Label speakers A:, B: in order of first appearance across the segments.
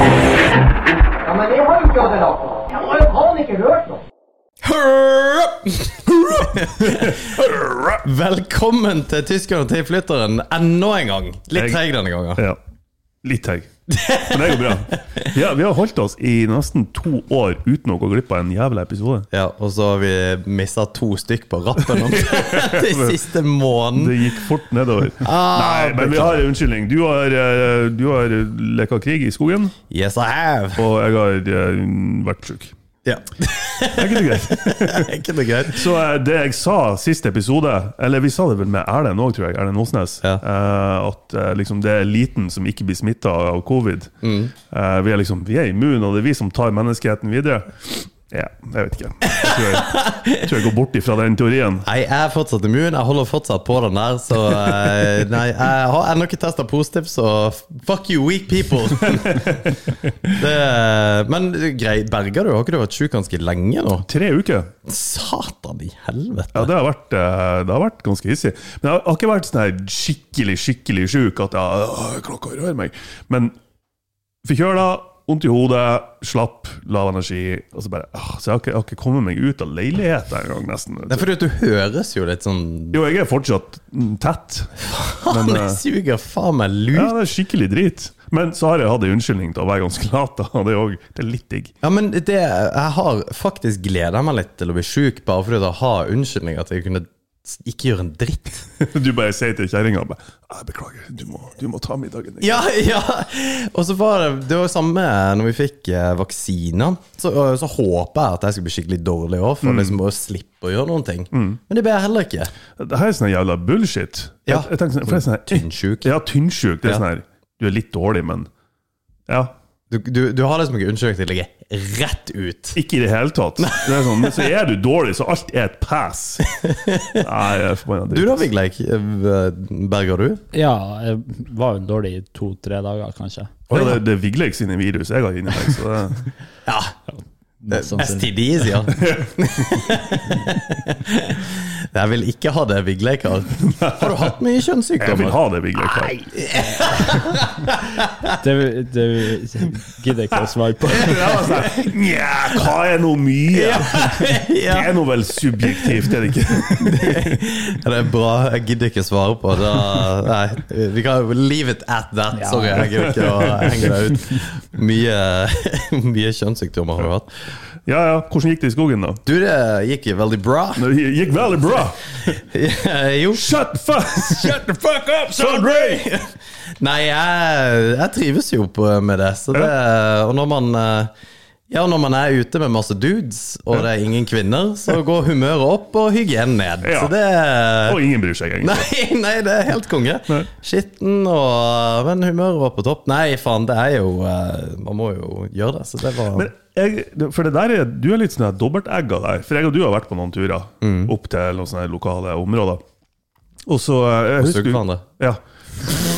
A: Ja, men jeg har jo ikke hatt det nok. Jeg har jo faen ikke hørt noe.
B: Velkommen til Tyskeren og tilflytteren enda en gang. Litt
C: Jeg-
B: treig denne gangen.
C: Ja. Litt høy. Men det går bra. Ja, vi har holdt oss i nesten to år uten å gå glipp av en jævla episode.
B: Ja, og så har vi mista to stykk på rappen om den siste måneden.
C: Det gikk fort nedover.
B: Ah,
C: Nei, men vi har en unnskyldning. Du har, eh, du har leka krig i skogen,
B: Yes, I have!
C: og jeg har eh, vært sjuk.
B: Ja.
C: Er ikke det greit?
B: Er ikke det greit?
C: Så eh, det jeg sa siste episode, eller vi sa det vel med Erlend òg, tror jeg, Erlend Osnes,
B: Ja.
C: eh, at eh, liksom det er eliten som ikke blir smitta av covid. Eh, vi er liksom, vi er immune, og det er vi som tar menneskeheten videre. Ja, jeg vet ikke. Jeg tror jeg, jeg, tror jeg går bort ifra den teorien.
B: Jeg er fortsatt immun. Jeg holder fortsatt på den der, så eh, Nei, jeg har ennå ikke testa positivt, så fuck you, weak people! Det, men grei, berga du? Har ikke du vært sjuk ganske lenge nå?
C: Tre uker.
B: Satan i
C: Ja,
B: helvete!
C: det har vært, eh, det har vært ganske hissig. Men jeg har ikke vært sånn her skikkelig skikkelig sjuk at jeg, «Åh, klokka rører meg. Men forkjøla, vondt i hodet, slapp, lav energi. Og så bare, «Åh», så jeg har, ikke, jeg har ikke kommet meg ut av leiligheta engang, nesten.
B: Det er fordi at du høres jo litt sånn
C: Jo, jeg er fortsatt mm, tett.
B: Han suger faen meg lut!
C: Ja, det er skikkelig drit. Men så har jeg hatt en unnskyldning til å være ganske lat. da. Det er, også, det er litt digg.
B: Ja, men det, jeg har faktisk gleda meg litt til å bli sjuk, bare fordi jeg har unnskyldning at jeg kunne s- ikke gjøre en dritt.
C: Du bare sier til kjerringa bare, «Jeg Beklager, du må, du må ta middagen.
B: Ja, ja! Og så var det det var jo samme når vi fikk eh, vaksiner. Så, øh, så håpa jeg at jeg skulle bli skikkelig dårlig òg, for liksom å slippe å gjøre noen ting. Men det ble jeg heller ikke.
C: Det her er sånn jævla bullshit.
B: Ja.
C: Jeg, jeg tenker sånn, for det er sånn her,
B: Tynnsjuk.
C: Ja, tynnsjuk. Det er
B: Ja.
C: sånn her Du er litt dårlig, men Ja.
B: Du, du, du har liksom ikke unnskyldning til å ligge rett ut.
C: Ikke i det hele tatt. Det er sånn, men så er du dårlig, så alt er et pass. Nei, jeg er forbanna.
B: Du da,
C: dritt.
B: Vigleik? eh, Berger du?
D: Ja, jeg var jo dårlig i to-tre dager, kanskje.
C: Ja, det, det er Vigleik sine virus jeg har inni meg. Så det,
B: Ja.
D: Sånn som-
B: STD, sier han. Jeg vil ikke ha det Vigleik har. Har du hatt mye
C: jeg vil
B: kjønnssykdommer?
C: ha det Vigleik har.
D: Det, det gidder jeg ikke å svare på.
C: Ja, altså, Nja, hva er nå mye? Det
B: Ja,
C: er nå vel subjektivt, er det ikke?
B: det er bra. Jeg gidder ikke svare på det. Nei, vi kan jo leave it at that. Sorry, jeg gidder ikke å henge deg ut. Mye, mye kjønnssykdommer har du hatt.
C: Ja ja, hvordan gikk det i skogen, da?
B: Du, det gikk jo veldig bra.
C: Det gikk veldig bra.
B: Jo.
C: Shut the fuck, shut the fuck up, son Ray!
B: Nei, jeg, jeg trives jo på, med det. Så det og når man eh, ja, når man er ute med masse dudes, og det er ingen kvinner, så går humøret opp og hygienen ned.
C: Ja.
B: Så det
C: Og ingen bryr seg, egentlig.
B: Nei, nei, det er helt konge. Skitten og Men humøret var på topp. Nei, faen, det er jo eh, Man må jo gjøre det, så det var
C: Men jeg, for det der er, du er litt sånn her dobbeltegga der. For jeg og du har vært på noen turer opp til noen sånne her lokale områder. Og så eh, jeg
B: sugde hverandre.
C: Ja.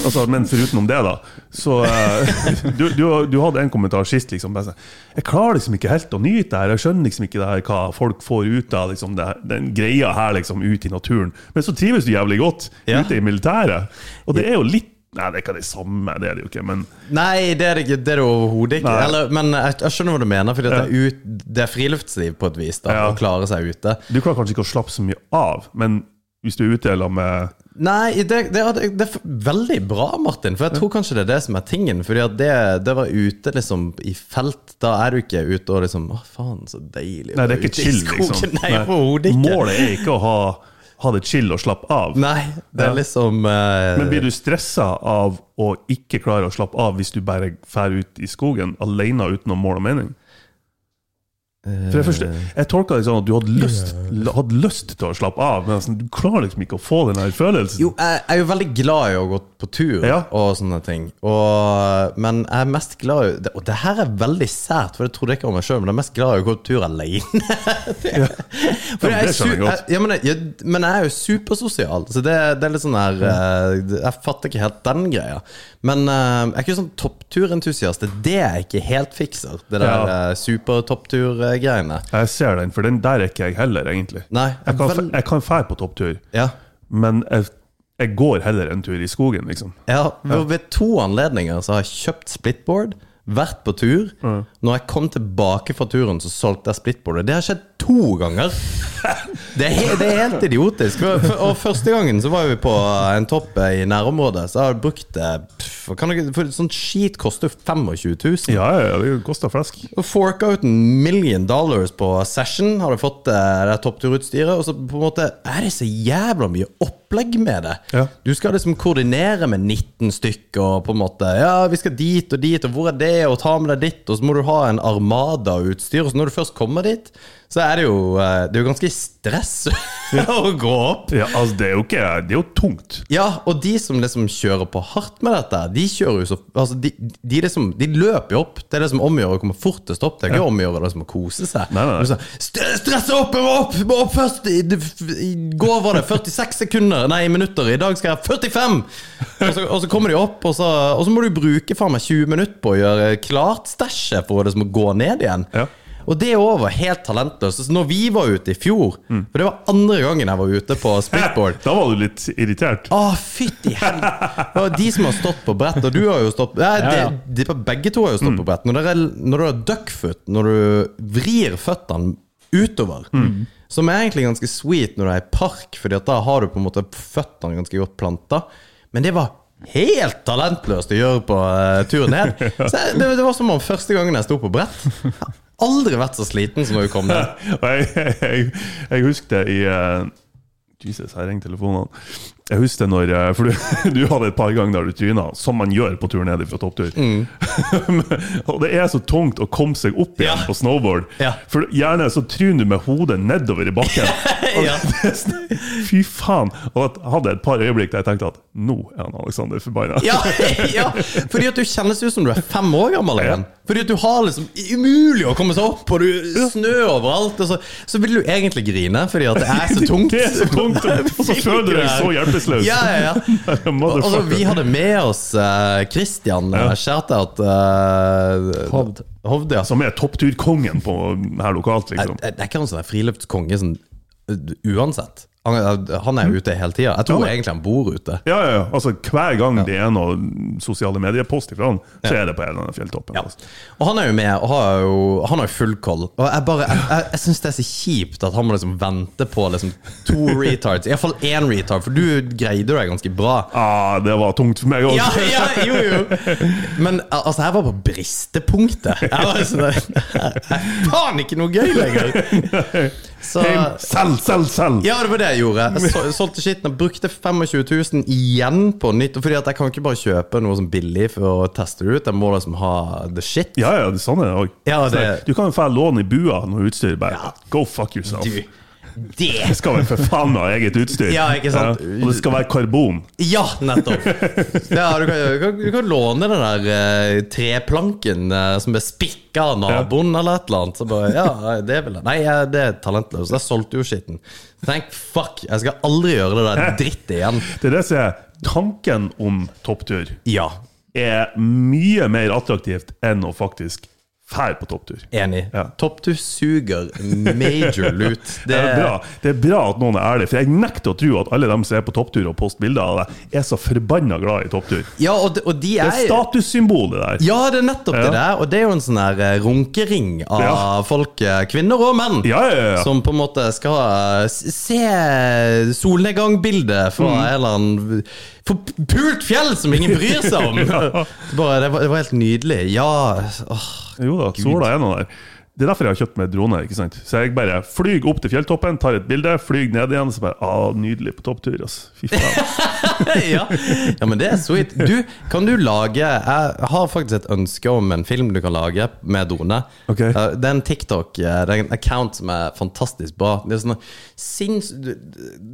C: Altså, men forutenom det, da. Så eh, du, du, du hadde en kommentar sist. liksom bare sånn, Jeg klarer liksom ikke helt å nyte det her. Jeg skjønner liksom ikke det her hva folk får ut av liksom, det, her- den greia her liksom ut i naturen. Men så trives du jævlig godt
B: Ja.
C: ute i militæret. Og det er jo litt Nei, det er ikke det samme, det er det jo ikke, men
B: Nei, det er det, ikke- det, er det overhodet ikke.
C: Nei.
B: Eller, men jeg, jeg skjønner hva du mener, for det, er ut- det er friluftsliv på et vis. da,
C: Ja.
B: Å klare seg ute.
C: Du klarer kanskje ikke å slappe så mye av, men hvis du er ute eller med
B: Nei, det, det, er- det er veldig bra, Martin, for jeg tror kanskje det er det som er tingen. Fordi at det, det var ute liksom i felt, da er du ikke ute og liksom Å, faen, så deilig. å
C: Nei, det er
B: være
C: ikke
B: ute i
C: chill,
B: skogen».
C: liksom.
B: Nei, overhodet ikke.
C: Målet er ikke å ha, ha det chill og slappe av.
B: Nei, det er
C: Ja.
B: liksom eh,
C: Men blir du stressa av å ikke klare å slappe av hvis du bare drar ut i skogen alene uten noe mål og mening? For jeg, forstår, jeg tolka det sånn at du hadde lyst, hadde lyst til å slappe av, men sånn, du klarer liksom ikke å få den her følelsen.
B: Jo, jeg jeg er jo veldig glad i å gå på tur
C: Ja.
B: og sånne ting. Og, men jeg er mest glad i det- Og det her er veldig sært, for det trodde jeg ikke om meg sjøl, men jeg er mest glad i å gå på tur alene. For
C: Ja,
B: jeg er
C: men det skjønner jeg
B: su-
C: godt.
B: jeg- Ja, men, jeg, jeg- men jeg er jo supersosial, så det, det er litt sånn her eh, Jeg fatter ikke helt den greia. Men eh, jeg er ikke sånn toppturentusiast. Det er det jeg ikke helt fikser, det der
C: Ja.
B: ja. supertopptur-greiene.
C: Jeg ser den, for den der er ikke jeg heller, egentlig.
B: Nei,
C: jeg kan
B: vel-
C: f- jeg kan fære på topptur,
B: Ja.
C: men jeg, jeg går heller en tur i skogen, liksom.
B: Jeg har, Ved to anledninger så har jeg kjøpt splitboard, vært på tur. Når jeg kom tilbake fra turen, så solgte jeg splitboardet. Det har skjedd to ganger! Det er, he- det er helt idiotisk. For- for- Og første gangen så var vi på en topp i nærområdet, så jeg har brukt det pff, hva kan dere- For sånt skit koster jo 25 000.
C: Ja, ja, ja, det koster flesk.
B: Og Forka ut en million dollars på session, hadde fått eh, det toppturutstyret. Og så på en måte er det så jævla mye opplegg med det.
C: Ja.
B: Du skal liksom koordinere med 19 stykk og på en måte Ja, vi skal dit og dit, og hvor er det, og ta med deg ditt, og så må du ha en armada av utstyr. Og så når du først kommer dit, så er det jo eh, Det er jo ganske stress å gå opp.
C: Ja, altså, det er jo ikke Det er jo tungt.
B: Ja, og de som liksom kjører på hardt med dette, de kjører jo så altså de, de, liksom, de løper jo opp. Det er det som omgjør å komme fortest opp. Det er ikke omgjør det som å kose seg.
C: Nei, nei, nei.
B: Men så, "St- Stresse opp! Jeg må opp! Jeg må opp først! I, i, I går var det 46 sekunder, nei, minutter. I dag skal jeg ha 45! Og så, og så kommer de opp, og så, og så må du bruke faen meg 20 minutter på å gjøre klart stæsjet for det som å liksom gå ned igjen.
C: Ja.
B: Og det òg var helt talentløst. Så Når vi var ute i fjor,
C: Mm.
B: for det var andre gangen jeg var ute på splitboard
C: Da var du litt irritert.
B: å, fytti helvete! Det var de som har stått på brett, og du har jo stått Nei,
D: Ja, ja. Mm.
B: De, de, Begge to har jo stått på brett. Når, dere, når du har duckfoot, når du vrir føttene utover,
D: Mm.
B: som er egentlig ganske sweet når du er i park, Fordi at da har du på en måte føttene ganske godt planta, men det var Helt talentløst å gjøre på eh, tur ned. Så jeg, det, det var som om første gangen jeg sto på brett. Jeg har aldri vært så sliten som da vi kom ned.
C: Og jeg, jeg, jeg husker det i eh, Jesus, her ringer telefonene. Jeg husker det når eh, For du, du hadde et par ganger der du tryna, som man gjør på tur ned fra topptur. Mm. og det er så tungt å komme seg opp igjen
B: Ja.
C: på snowboard.
B: Ja.
C: For gjerne så tryner du med hodet nedover i bakken. Og
B: Ja.
C: det er sånn- Fy faen! Og at- hadde et par øyeblikk der jeg tenkte at nå er han Alexander forbanna.
B: Ja, ja, fordi at du kjennes ut som du er fem år gammel igjen. Fordi at du har liksom umulig å komme seg opp, og du snø overalt. Og så, så vil du egentlig grine, fordi at det er så tungt.
C: Det er så tungt, og så føler du deg så hjelpeløs.
B: Ja, ja, ja. Og- Altså, vi hadde med oss eh, Christian uh, Shoutout eh,
D: Hovd.
B: Hovd, ja. Eh,
C: Som er toppturkongen på her lokalt, liksom.
B: Det er ikke han som er friluftskonge sånn, uh, uansett. Han, han er jo ute hele tida. Jeg tror
C: Ja.
B: egentlig han bor ute.
C: Ja, ja, ja. Altså, hver gang det er noe sosiale medier-post ifra han, så er det på en eller annen fjelltoppen. Altså.
B: Og han er jo med, og har jo, han har jo full koll. Og jeg bare, jeg, jeg, jeg syns det er så kjipt at han må liksom vente på liksom to retards. Iallfall én retard, for du greide deg ganske bra.
C: Ah, det var tungt for meg òg.
B: Ja, ja, jo, jo. Men al- altså, jeg var på bristepunktet. Jeg var sånn jeg- jeg- Faen, ikke noe gøy lenger! Så
C: Selv, selv, selv!
B: ja, det var det jeg gjorde. Jeg sol- solgte skitten og brukte 25 000 igjen på nytt. Fordi at jeg kan ikke bare kjøpe noe som billig for å teste det ut. Jeg må liksom ha the shit.
C: Ja, ja, det er sånn er det òg.
B: Ja, det-
C: Du kan jo få låne i bua noe utstyr. Bare go fuck yourself.
B: Du, det
C: Det skal vel for faen meg ha eget utstyr.
B: Ja, ikke sant?
C: Og det skal være karbon.
B: Ja, nettopp! Ja, du, kan, du, kan, du kan låne den der eh, treplanken eh, som er spikka av naboen, eller et eller annet. Så bare, ja, det vil jeg. Nei, jeg- det er talentløst. Jeg solgte jo skitten. Tenk, fuck, jeg skal aldri gjøre det der drittet igjen.
C: Det er det som er tanken om topptur.
B: Ja.
C: er mye mer attraktivt enn å faktisk fær på topptur.
B: Enig.
C: Ja.
B: Topptur suger major loot.
C: Det er, bra. det er bra at noen er ærlig, for jeg nekter å tro at alle dem som er på topptur og poster bilder av deg, er så forbanna glad i topptur.
B: Ja, og, de- og de
C: Det
B: er
C: er statussymbol, det der.
B: Ja, det er nettopp det der. Og det er jo en sånn der eh, runkering av
C: Ja.
B: folk, eh, kvinner og menn,
C: Ja, ja, ja.
B: som på en måte skal eh, s- se solnedgangbildet fra
C: Mm.
B: en eller annen forpult fjell som ingen bryr seg om. Bare, det, var, det var helt nydelig. Ja åh.
C: Jo da, sola er nå der. Det er derfor jeg har kjøpt meg drone. ikke sant? Så jeg bare flyr opp til fjelltoppen, tar et bilde, flyr ned igjen. Så bare, ah, Nydelig på topptur, altså. Fy faen.
B: ja. ja, men det er sweet. Du, kan du lage Jeg har faktisk et ønske om en film du kan lage med drone.
C: Ok.
B: Eh, Det er en TikTok, eh, det er en account som er fantastisk bra. Det er sånn sinns... du-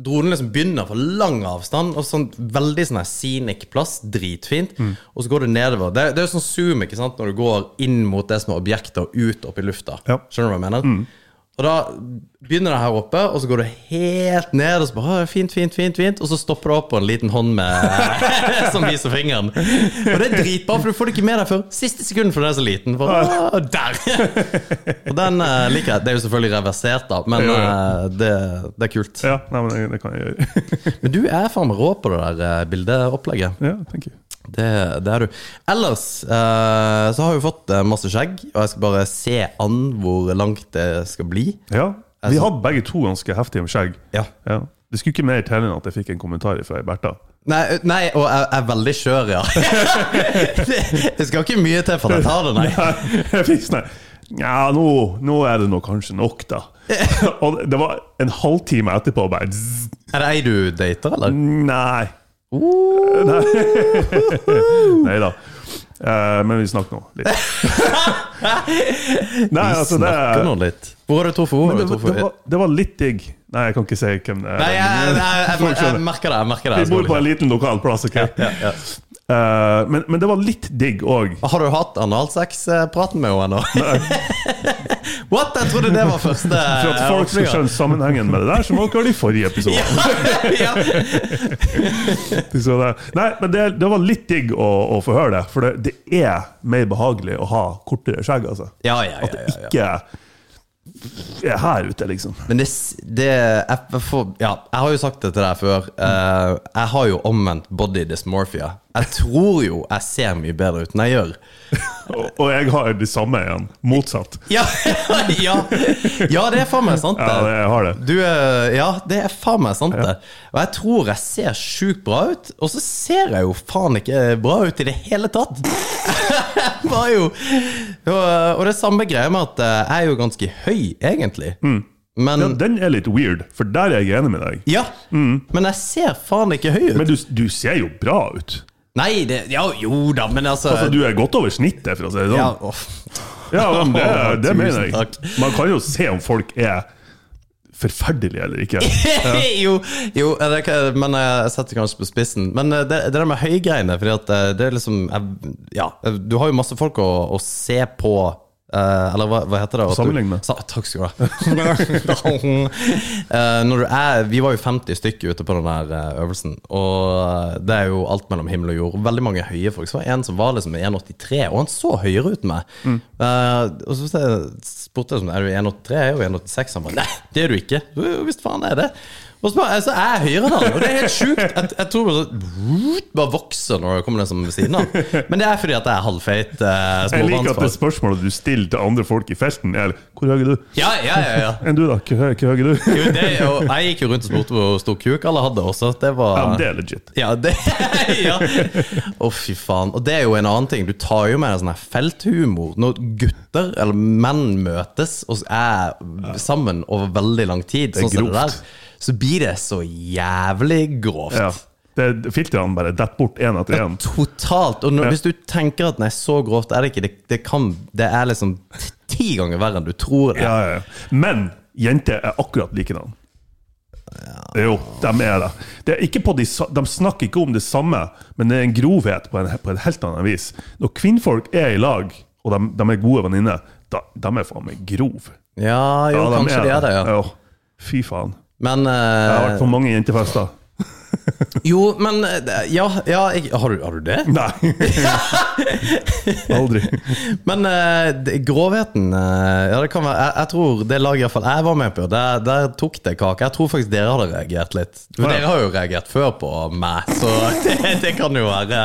B: Dronen liksom begynner fra lang avstand, og sånn veldig sånn her scenic plass, dritfint, og så går du nedover. Det, er- det er jo sånn zoom, ikke sant, når du går inn mot det som er objektet, og ut opp i lufta.
C: Ja.
B: Skjønner du hva jeg mener? Og da begynner det her oppe, og så går du helt ned, og så bare, «Å, fint, fint, fint, fint, og så stopper du opp på en liten hånd med, som viser fingeren. Og det er dritbra, for du får det ikke med deg før siste sekund, for den er så liten. Bare, «Å, der! Og den eh, liker jeg. Det er jo selvfølgelig reversert, da, men
C: Jo, jo.
B: eh, det, det er kult.
C: Ja, nei, men det, det kan jeg gjøre.
B: Men du er faen meg rå på det der eh, bildeopplegget.
C: ja, thank you.
B: Det, det er du. Ellers eh, så har jeg jo fått eh, masse skjegg, og jeg skal bare se an hvor langt det skal bli.
C: Ja, Vi hadde begge to ganske heftige med skjegg.
B: Altså- Ja.
C: Ja. Det skulle ikke mer til enn at jeg fikk en kommentar fra Bertha.
B: Nei, nei og jeg jeg er veldig skjør, ja. det, det skal ikke mye til for at jeg tar det, nei.
C: Jeg fikk sånn her, Nja, nå, nå er det nå kanskje nok, da. Og det var en halvtime etterpå bare zzz,
B: Er det ei du dater, eller?
C: Nei. Nei da. Eh, men vi snakker nå litt. Nei, altså, det,
B: Snakker nå litt. Hvor har du truffet henne? Har
C: det,
B: du
C: var- det,
B: truffet-
C: var, det var litt digg. Nei, jeg kan ikke si hvem det er.
B: Nei, jeg, jeg, jeg, jeg, jeg merker det. jeg merker det.
C: Vi bor på en liten lokal plass. ok? Eh, men, men det var litt digg òg.
B: Har du hatt analsex-praten med henne ennå? What? Jeg trodde det var første eh,
C: For at folk skal
B: åpninga.
C: skjønne sammenhengen med det der, så må dere høre de forrige episodene.
B: ja.
C: Så det- Nei, men det, det var litt digg å, å få høre det, for det, det er mer behagelig å ha kortere skjegg, altså.
B: Ja, ja, ja,
C: At det
B: ja, ja.
C: ikke er her ute, liksom.
B: Men det, s- det jeg, jeg får, ja, jeg har jo sagt det til deg før. eh, jeg har jo omvendt body dysmorphia. Jeg tror jo jeg ser mye bedre ut enn jeg gjør.
C: Og, og jeg har det samme igjen. Motsatt.
B: Ja, ja. ja det er faen meg sant,
C: Ja, det-
B: det.
C: jeg har det.
B: Du, eh, ja, det er faen meg sant, det. Og jeg tror jeg ser sjukt bra ut, og så ser jeg jo faen ikke bra ut i det hele tatt. Jeg var jo Og, eh, og det er samme greia med at eh, jeg er jo ganske høy, egentlig.
C: Mm.
B: Men
C: Ja, den er litt weird, for der er jeg enig med deg.
B: Ja, men jeg ser faen ikke høy ut.
C: Mm. Men du, du ser jo bra ut.
B: Nei, det, ja, jo da, men altså,
C: Altså, du er godt over snittet, for å si det
B: ja,
C: sånn.
B: åh,
C: Ja, men det, det
B: Tusen
C: mener jeg.
B: takk.
C: Man kan jo se om folk er forferdelige eller ikke.
B: jo, jo det, kan- men jeg setter kanskje på spissen. Men eh, det, det der med høygreiene Fordi at eh, det er liksom jeg, Ja, eh, du har jo masse folk å, å se på eh, eller hva, hva heter det? At du-
C: Sammenligne.
B: Sa, takk skal du ha. Eh, når du er, vi var jo 50 stykker ute på den her eh, øvelsen, og eh, det er jo alt mellom himmel og jord. Veldig mange høye folk. Så var det en som var liksom 1,83, og han så høyere ut enn meg.
C: Mm.
B: Eh, og så spurte jeg spurte jeg sånn, er du 1,83, jeg er jo 1,86. Han bare nei, det er du ikke. Jo, jo, Visst faen er jeg det. Og så bare, altså, jeg er høyere enn han, og det er helt sjukt. Jeg, jeg tror bare, så, bare vokser når det kommer den som ved siden av. Men det er fordi at jeg er halvfeit eh,
C: Jeg liker at det
B: småbarnsfar.
C: spørsmålet du stiller til andre folk i felten, er 'Hvor høy er du?'
B: Ja, ja, ja, ja.
C: Enn du, da? Hvor høy, hvor høy er du?
B: Jo, det, er jo- jeg gikk jo rundt og spurte hvor stor kuk alle hadde også. Det
C: Ja, men
B: var
C: det er legit.
B: ja, det, ja. Å, fy faen. Og det er jo en annen ting. Du tar jo med deg sånn her felthumor. Når gutter eller menn møtes og er sammen over veldig lang tid,
C: er
B: sånn som det der,
C: grovt.
B: så blir det så jævlig grovt.
C: Ja. Det, filtrene bare detter bort én etter én.
B: Totalt. Og når, hvis du tenker at nei, så grovt er det ikke, det, det kan Det er liksom t- ti ganger verre enn du tror det.
C: Ja, ja, ja. Men jenter er akkurat likedan. Jo, de er det. det er ikke på de, sa- de snakker ikke om det samme, men det er en grovhet på, en, på et helt annet vis. Når kvinnfolk er i lag, og de, de er gode venninner, da- de er faen meg grove.
B: Ja, jo, kanskje de er det, ja.
C: Fy faen.
B: Men eh,
C: Jeg har vært på mange jentefester.
B: Jo, men eh, Ja, ja jeg, har, du, har du det?
C: Nei. Aldri.
B: Men eh, det- grovheten eh, Ja, det kan være jeg, jeg tror det laget i hvert fall jeg var med på, der, der tok det kake. Jeg tror faktisk dere hadde reagert litt. For
C: Ja.
B: dere har jo reagert før på meg, så det, det kan jo være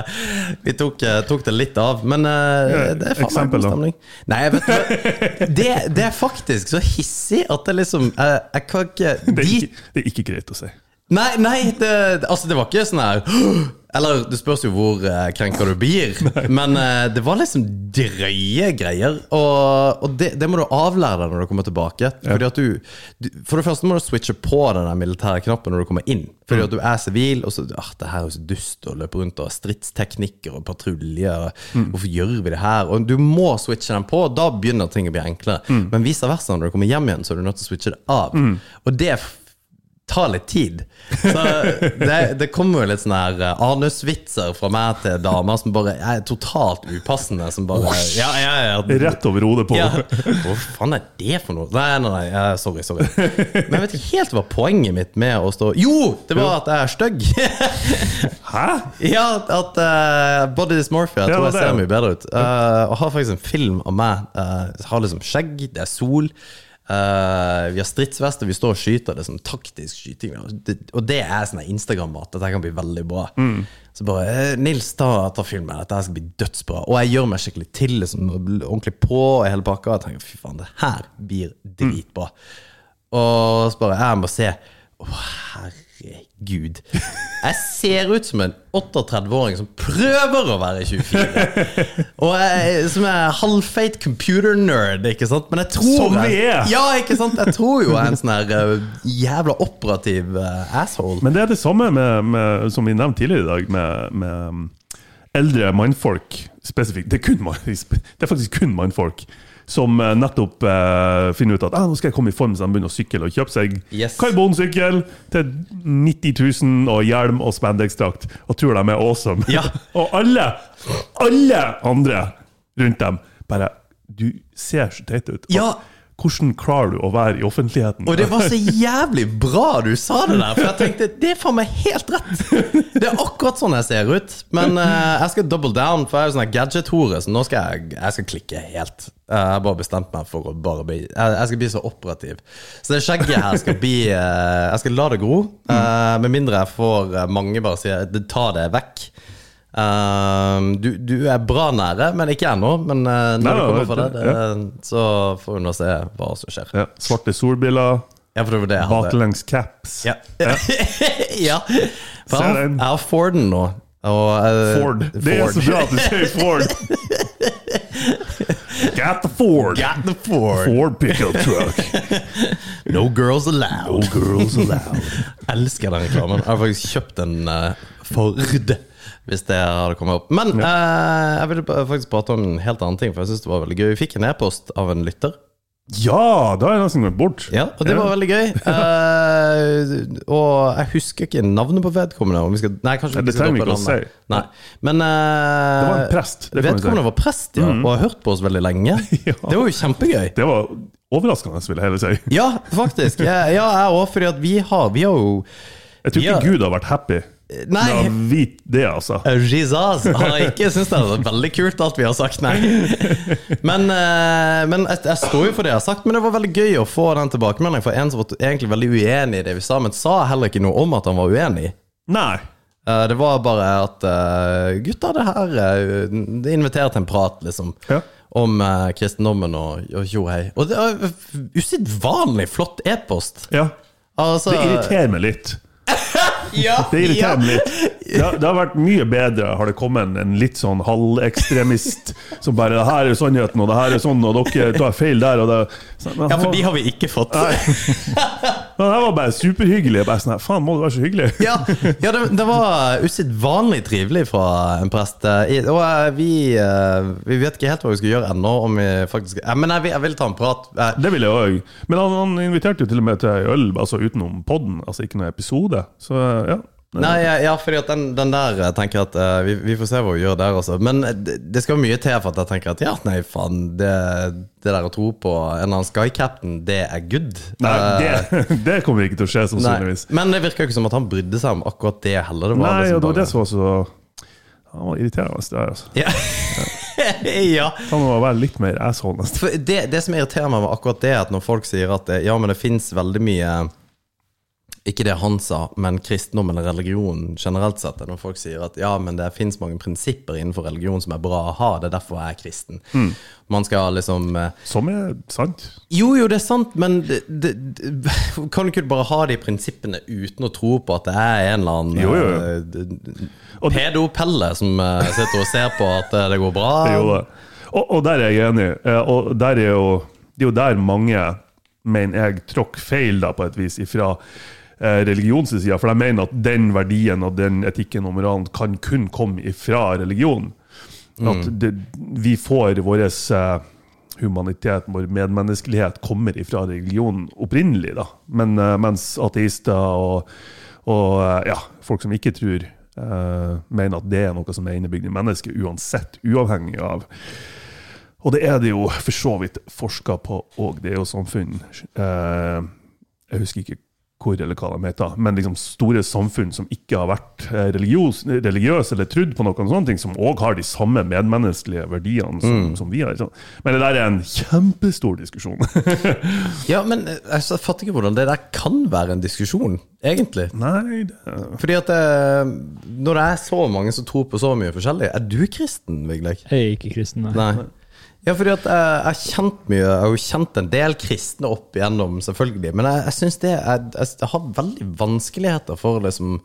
B: Vi tok, eh, tok det litt av. Men eh,
C: Ja,
B: det er faen meg
C: eksempel
B: god
C: da.
B: stemning. Nei, jeg vet du det, det er faktisk så hissig at det liksom Jeg, jeg kan ikke
C: Det er,
B: de-
C: ikke, det er ikke greit å si.
B: Nei, nei, det, altså det var ikke sånn her «Åh!» Eller det spørs jo hvor eh, krenka du blir, men eh, det var liksom drøye greier. Og, og det, det må du avlære deg når du kommer tilbake. Fordi at du, du, for det første må du switche på den der militære knappen når du kommer inn. Fordi at du er sivil, og så ah, det her er jo så dust å løpe rundt og ha stridsteknikker og patruljer. og Hvorfor gjør vi det her? Og du må switche den på, og da begynner ting å bli enklere. Men vice versa, når du kommer hjem igjen, så er du nødt til å switche det av. Og det er tar litt tid. Så det, det kommer jo litt sånn her eh, anusvitser fra meg til damer som bare er totalt upassende. Som bare Ja, ja, ja.
C: Rett over hodet på.
B: ja. Hva faen er det for noe? Nei, nei, nei, eh, sorry. sorry Men jeg vet ikke helt hva poenget mitt med å stå Jo! Det var at jeg er stygg.
C: Hæ?
B: ja, at eh, body dysmorphia. Jeg
C: Ja,
B: tror jeg
C: det er
B: ser
C: det.
B: mye bedre ut. Eh, og har faktisk en film av meg. eh, har liksom skjegg, det er sol. eh, vi har stridsvester, vi står og skyter. Det er sånn taktisk skyting. Og det, og det er sånn her Instagram-mat. Dette kan bli veldig bra.
C: Mm.
B: Så bare eh, Nils, ta, ta filmen. Dette her skal bli dødsbra. Og jeg gjør meg skikkelig til, liksom, ordentlig på og hele pakka. Og tenker fy faen, det her blir dritbra. Og så bare Jeg må se. Å, herregud. Jeg ser ut som en 38-åring som prøver å være 24. Og jeg, som er halvfeit computer nerd, ikke sant? Men jeg tror
C: Som vi
B: jeg-
C: er.
B: Ja, ikke sant? Jeg tror jo jeg er en sånn her eh, jævla operativ eh, asshole.
C: Men det er det samme med, med, som vi nevnte tidligere i dag, med, med um, eldre mannfolk spesifikt. Det er, kun, mann- det er faktisk kun mannfolk som eh, nettopp eh, finner ut at ah, nå skal jeg komme i form, så de begynner å sykle og kjøpe seg
B: Yes.
C: karbonsykkel til 90 000 og hjelm og spandexdrakt og tror de er awesome.
B: Ja.
C: og alle, alle andre rundt dem bare Du ser så teit ut.
B: Ja.
C: Hvordan klarer du å være i offentligheten?
B: Og det var så jævlig bra du sa det der, for jeg tenkte det er faen meg helt rett. Det er akkurat sånn jeg ser ut. Men eh, jeg skal double down, for jeg er jo sånn her gadget-hore, så nå skal jeg, jeg skal klikke helt. Eh, jeg har bare bestemt meg for å bare bli jeg, jeg skal bli så operativ. Så det skjegget her skal bli eh, Jeg skal la det gro, eh, med mindre jeg får eh, mange bare sier "Du, ta det vekk. Eh, du, du er bra nære, men ikke ennå. Men eh, når
C: Nei,
B: det kommer for
C: det-
B: deg, det, eh, så får vi nå se hva som skjer.
C: ja, svarte solbriller.
B: Ja, for det var det jeg hadde.
C: Baklengs caps.
B: Ja. ja. For
C: Ser
B: jeg, har-
C: den.
B: jeg har Forden nå. Og, eh,
C: Ford. Det er så
B: Ford.
C: bra at du sier Ford. Get the Ford.
B: Got the Ford.
C: Ford pickup truck.
B: No girls allowed.
C: Girls allowed.
B: Elsker den reklamen. Jeg har faktisk kjøpt en eh, Ford. Hvis det hadde kommet opp. Men eh, jeg ville ba- faktisk prate om en helt annen ting, for jeg synes det var veldig gøy. Vi fikk en e-post av en lytter.
C: Ja, da er jeg nesten gått bort.
B: Ja, og det var veldig gøy. Eh, og jeg husker ikke navnet på vedkommende. Om vi skal, nei, kanskje
C: Nei, det
B: vi skal
C: trenger vi
B: droppe
C: ikke å
B: navnet. Nei. Men eh,
C: Det var en prest, det kan vi si. Mm.
B: vedkommende var prest, ja, og har hørt på oss veldig lenge.
C: Ja.
B: Det var jo kjempegøy.
C: Det var overraskende, vil jeg heller si.
B: Ja, faktisk. Ja, ja jeg òg, fordi at vi har, vi har jo
C: Jeg tror
B: Ja.
C: ikke Gud har vært happy
B: Nei! Eh.
C: med å vite det, altså.
B: Jesus har ikke syntes det er veldig kult, alt vi har sagt, nei. Men, eh, men jeg, jeg står jo for det jeg har sagt, men det var veldig gøy å få den tilbakemeldingen fra en som var egentlig veldig uenig i det vi sa, men sa heller ikke noe om at han var uenig.
C: Nei.
B: Eh, Det var bare at eh, gutta, det her eh, Det inviterer til en prat, liksom.
C: Ja.
B: Om eh, kristendommen og og tjo hei. Og det er usedvanlig flott e-post.
C: Ja.
B: Altså,
C: Det irriterer meg litt.
B: ja,
C: Det irriterer
B: ja.
C: meg litt. Det har, det har vært mye bedre, har det kommet en, en litt sånn halvekstremist som bare 'Det her er sannheten, og det her er sånn, og dere tar feil der', og det Så- men
B: Ja,
C: han-
B: for de har vi ikke fått.
C: Men det her var bare superhyggelig. Jeg Bare sånn, her, Faen, må du være så hyggelig?
B: Ja, ja det, det var usedvanlig trivelig fra en prest. eh, i- Og eh, vi, eh, vi vet ikke helt hva vi skal gjøre ennå. Om vi faktisk, eh, men jeg, vil- jeg vil ta en prat. eh,
C: Det ville jeg òg. Men han, han inviterte jo til og med til ei øl, altså utenom podden, altså ikke noen episode. Så ja,
B: Nei, ja, ja fordi at den, den der jeg tenker at eh, vi, vi får se hva vi gjør der også. Men eh, det, det skal mye til for at jeg tenker at ja, nei, faen, det, det der å tro på en eller annen Sky Captain, det er good.
C: Nei,
B: Eh,
C: det, det kommer ikke til å skje,
B: nei.
C: sannsynligvis.
B: Men det virker jo ikke som at han brydde seg om akkurat det heller. Det var
C: Nei,
B: liksom
C: og det var
B: bare-
C: det som var så Han var irriterende der, altså.
B: Ja. ja.
C: Han må være litt mer asshole, nesten.
B: For det, det som irriterer meg med akkurat det, er at når folk sier at det, ja, men det fins veldig mye Ikke det han sa, men kristendom eller religion generelt sett. er Når folk sier at ja, men det fins mange prinsipper innenfor religion som er bra å ha, det er derfor jeg er kristen.
C: Hmm.
B: Man skal liksom eh,
C: Som er sant.
B: jo, jo, det er sant, men det, det, det, kan du ikke bare ha de prinsippene uten å tro på at det er en eller annen
C: Jo, jo, jo.
B: eh, d- d-
C: Og det-
B: Pedo-Pelle som eh, sitter og ser på at eh, det går bra.
C: Jo da. Og, og der er jeg enig. Eh, Og der er jo, det er jo der mange, mener jeg, tråkk feil da, på et vis ifra eh, religions side. For jeg mener at den verdien og den etikken og moralen kan kun komme ifra religion. At det, vi får vår humanitet, vår medmenneskelighet, kommer ifra religionen opprinnelig. da. Men eh, mens ateister og, og eh, ja, folk som ikke tror, eh, mener at det er noe som er innebygd i mennesket uansett, uavhengig av Og det er det jo for så vidt forska på òg, det er jo samfunn eh, Jeg husker ikke hvor eller hva de heter, men liksom store samfunn som ikke har vært eh, religiøs, religiøse eller trodd på noen sånne ting, som òg har de samme medmenneskelige verdiene som, som vi har. ikke sant? Men det der er en kjempestor diskusjon.
B: Ja, men eh, altså, jeg fatter ikke hvordan det der kan være en diskusjon, egentlig.
C: Nei, det
B: Fordi at eh, når det er så mange som tror på så mye forskjellig Er du kristen, Vigleik?
D: Jeg er ikke kristen, nei.
B: Nei. Ja, fordi at eh, jeg har kjent mye Jeg har jo kjent en del kristne opp igjennom, selvfølgelig. Men jeg, jeg syns det er, jeg, jeg har veldig vanskeligheter for liksom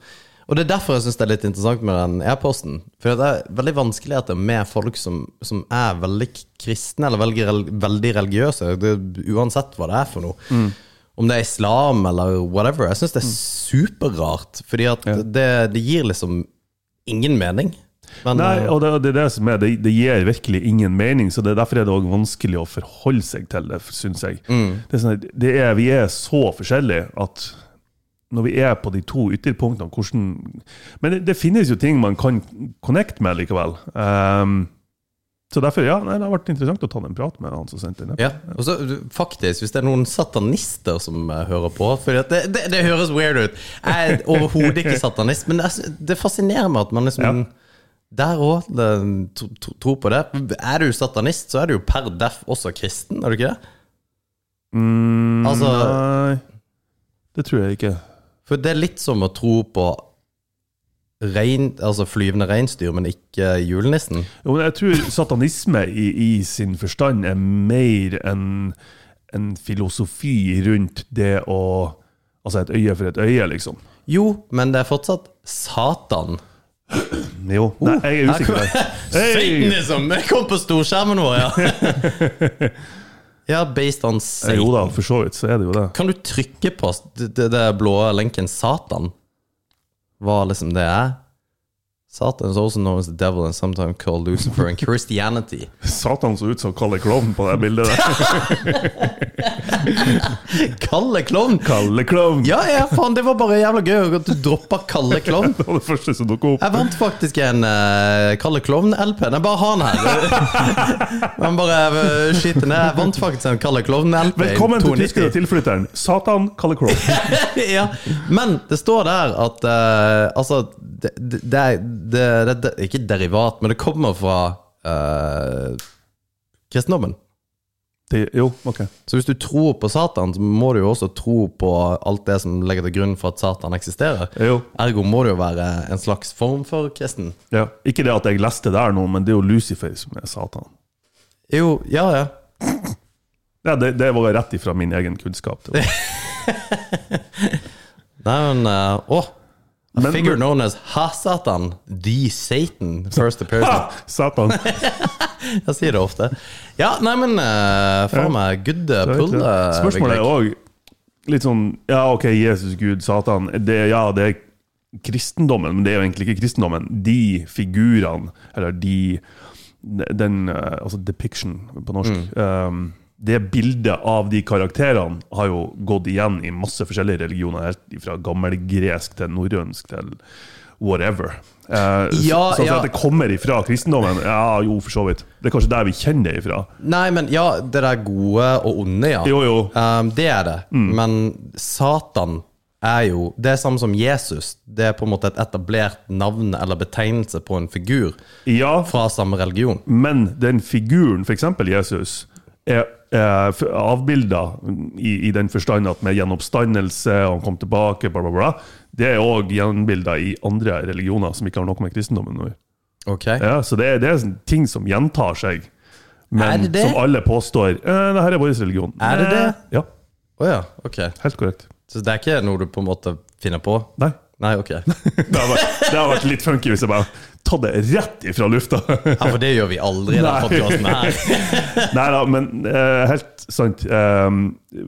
B: Og det er derfor jeg syns det er litt interessant med den e-posten. For det er veldig vanskeligheter med folk som, som er veldig kristne, eller veldig, rel- veldig religiøse, det, uansett hva det er for noe.
C: Mm.
B: Om det er islam eller whatever. Jeg syns det er superrart, fordi at det, det gir liksom ingen mening. Men,
C: Nei,
B: eh,
C: og det, det er det som er, det, det gir virkelig ingen mening, så det, er derfor er det også vanskelig å forholde seg til det, syns jeg. Det er sånn, at det er, vi er så forskjellige at når vi er på de to ytterpunktene, hvordan Men det, det finnes jo ting man kan connect med likevel. Ehm, så derfor, ja, nei, det har vært interessant å ta en prat med han som sendte den.
B: Ja, og så du, faktisk, hvis det er noen satanister som eh, hører på For det, det, det høres weird ut. Jeg er overhodet ikke satanist, men jeg sy- det fascinerer meg at man liksom
C: Ja.
B: Der òg tror på det. Er du satanist, så er du jo per deff også kristen, er du ikke det?
C: Mm,
B: Altså-
C: Nei, det tror jeg ikke.
B: For det er litt som å tro på rein, altså flyvende reinsdyr, men ikke julenissen.
C: Jo, men jeg tror satanisme i, i sin forstand er mer enn en filosofi rundt det å Altså et øye for et øye, liksom.
B: Jo, men det er fortsatt Satan.
C: Jo.
B: Oh,
C: Nei, jeg er usikker. der. Hei!
B: Satanism! Jeg liksom. kom på storskjermen vår, ja! ja, based on
C: Eh,
B: Satan.
C: Jo da, for så vidt så er det jo det.
B: Kan du trykke på det, det der blå lenken Satan? Hva liksom det er? Satan is also known as the devil and sometimes called Lucifer and Christianity.
C: Satan så ut som Kalle Klovn på det bildet der.
B: Kalle klovn!
C: Kalle Klovn!
B: Ja, ja, faen, det var bare jævla gøy at du droppa Kalle klovn.
C: Det var det første som dukka opp.
B: Jeg vant faktisk en eh, Kalle Klovn-LP. Jeg bare har den her. Men bare eh, skyter ned. Jeg vant faktisk en Kalle Klovn-LP.
C: Velkommen til tyske tilflytteren. Satan, Kalle Klovn.
B: ja. Men det står der at eh, Altså, det, det, det, er- det, det, det er Ikke derivat, men det kommer fra eh, kristendommen.
C: Det- Jo, OK.
B: Så hvis du tror på Satan, så må du jo også tro på alt det som ligger til grunn for at Satan eksisterer.
C: Jo.
B: Ergo må det jo være en slags form for kristen.
C: Ja. Ikke det at jeg leste der nå, men det er jo Lucifer som er Satan.
B: Jo, ja, ja.
C: Ja, det, det var rett ifra min egen kunnskap. Det var.
B: Nei, men eh, Åh! A
C: Men-
B: figure known as Ha-Satan, the Satan, first appearance.
C: Ah, Satan.
B: Jeg sier det ofte. Ja, nei, men uh, faen meg, good eh, pull. eh, Vigleik.
C: Spørsmålet er òg litt sånn Ja, OK, Jesus, Gud, Satan. Det, ja, det er kristendommen, men det er jo egentlig ikke kristendommen. De
B: Mm.
C: figurene, eller de Den eh, Altså depiction på norsk. Um, det bildet av de karakterene har jo gått igjen i masse forskjellige religioner, helt fra gammelgresk til norrønsk til whatever. Eh, så-
B: Ja,
C: sånn
B: ja.
C: at det kommer ifra kristendommen? Ja, jo, for så vidt. Det er kanskje der vi kjenner det ifra.
B: Nei, men ja, det der gode og onde, ja.
C: Jo, Mm. jo.
B: Um, det er det. Men Satan er jo Det er samme som Jesus. Det er på en måte et etablert navn eller betegnelse på en figur
C: Ja,
B: fra samme religion.
C: Men den figuren, f.eks. Jesus, er, er f- avbilda i, i den forstand at med gjenoppstandelse, og han kom tilbake, bla, bla, bla. Det er òg gjenbilda i andre religioner som ikke har noe med kristendommen å gjøre.
B: Ok?
C: Ja, så det, er- det er sånn ting som gjentar seg, men
B: Er det det?
C: som alle påstår eh, det her er vår religion.
B: Er det det?
C: Eh, Ja,
B: Å ja, ok.
C: helt korrekt.
B: Så det er ikke noe du på en måte finner på?
C: Nei.
B: Nei, ok. Ja,
C: Det har vært, det har vært litt funky hvis jeg bare tar det rett ifra lufta.
B: For det gjør vi aldri i denne
C: Nei.
B: podkasten her.
C: Nei da, men eh, helt sant. Eh,